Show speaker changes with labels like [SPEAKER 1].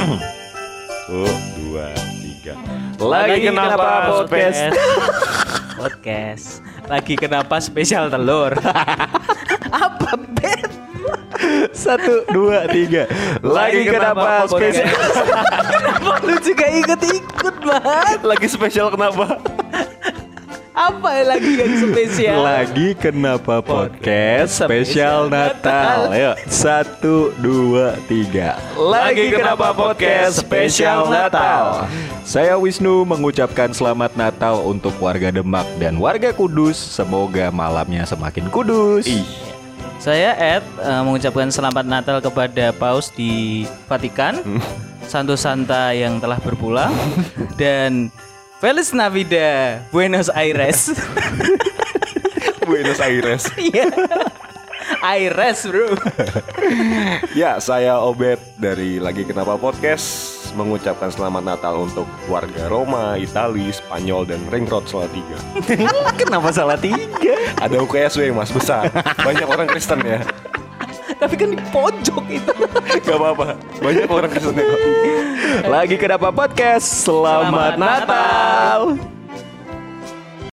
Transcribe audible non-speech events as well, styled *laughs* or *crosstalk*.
[SPEAKER 1] Satu, dua, tiga. Lagi, kenapa, podcast? *laughs*
[SPEAKER 2] podcast. Lagi kenapa spesial telur? *laughs* Apa bet?
[SPEAKER 1] Satu, dua, tiga. Lagi, kenapa, spesial?
[SPEAKER 2] *laughs* Kenapa lu juga ikut-ikut banget?
[SPEAKER 1] Lagi spesial kenapa?
[SPEAKER 2] Apa yang lagi yang spesial?
[SPEAKER 1] Lagi kenapa podcast spesial Natal? Ayo, satu, dua, tiga.
[SPEAKER 2] Lagi kenapa podcast spesial Natal?
[SPEAKER 1] Saya Wisnu mengucapkan selamat Natal untuk warga Demak dan warga Kudus. Semoga malamnya semakin kudus.
[SPEAKER 2] Saya Ed eh, mengucapkan selamat Natal kepada Paus di Vatikan,
[SPEAKER 1] Hmm.
[SPEAKER 2] Santo Santa yang telah berpulang, dan Feliz Navidad Buenos Aires. *laughs*
[SPEAKER 1] Buenos Aires.
[SPEAKER 2] Iya. Aires bro.
[SPEAKER 1] Ya, saya Obet dari Lagi Kenapa Podcast mengucapkan selamat Natal untuk warga Roma, Itali, Spanyol, dan Ring Road Salatiga.
[SPEAKER 2] Kenapa salah tiga?
[SPEAKER 1] Ada UKSW mas besar, banyak orang Kristen ya.
[SPEAKER 2] Tapi kan di pojok itu.
[SPEAKER 1] Gak apa-apa, banyak orang Kristen ya. Lagi Kenapa Podcast, selamat,
[SPEAKER 2] Natal.
[SPEAKER 1] Natal.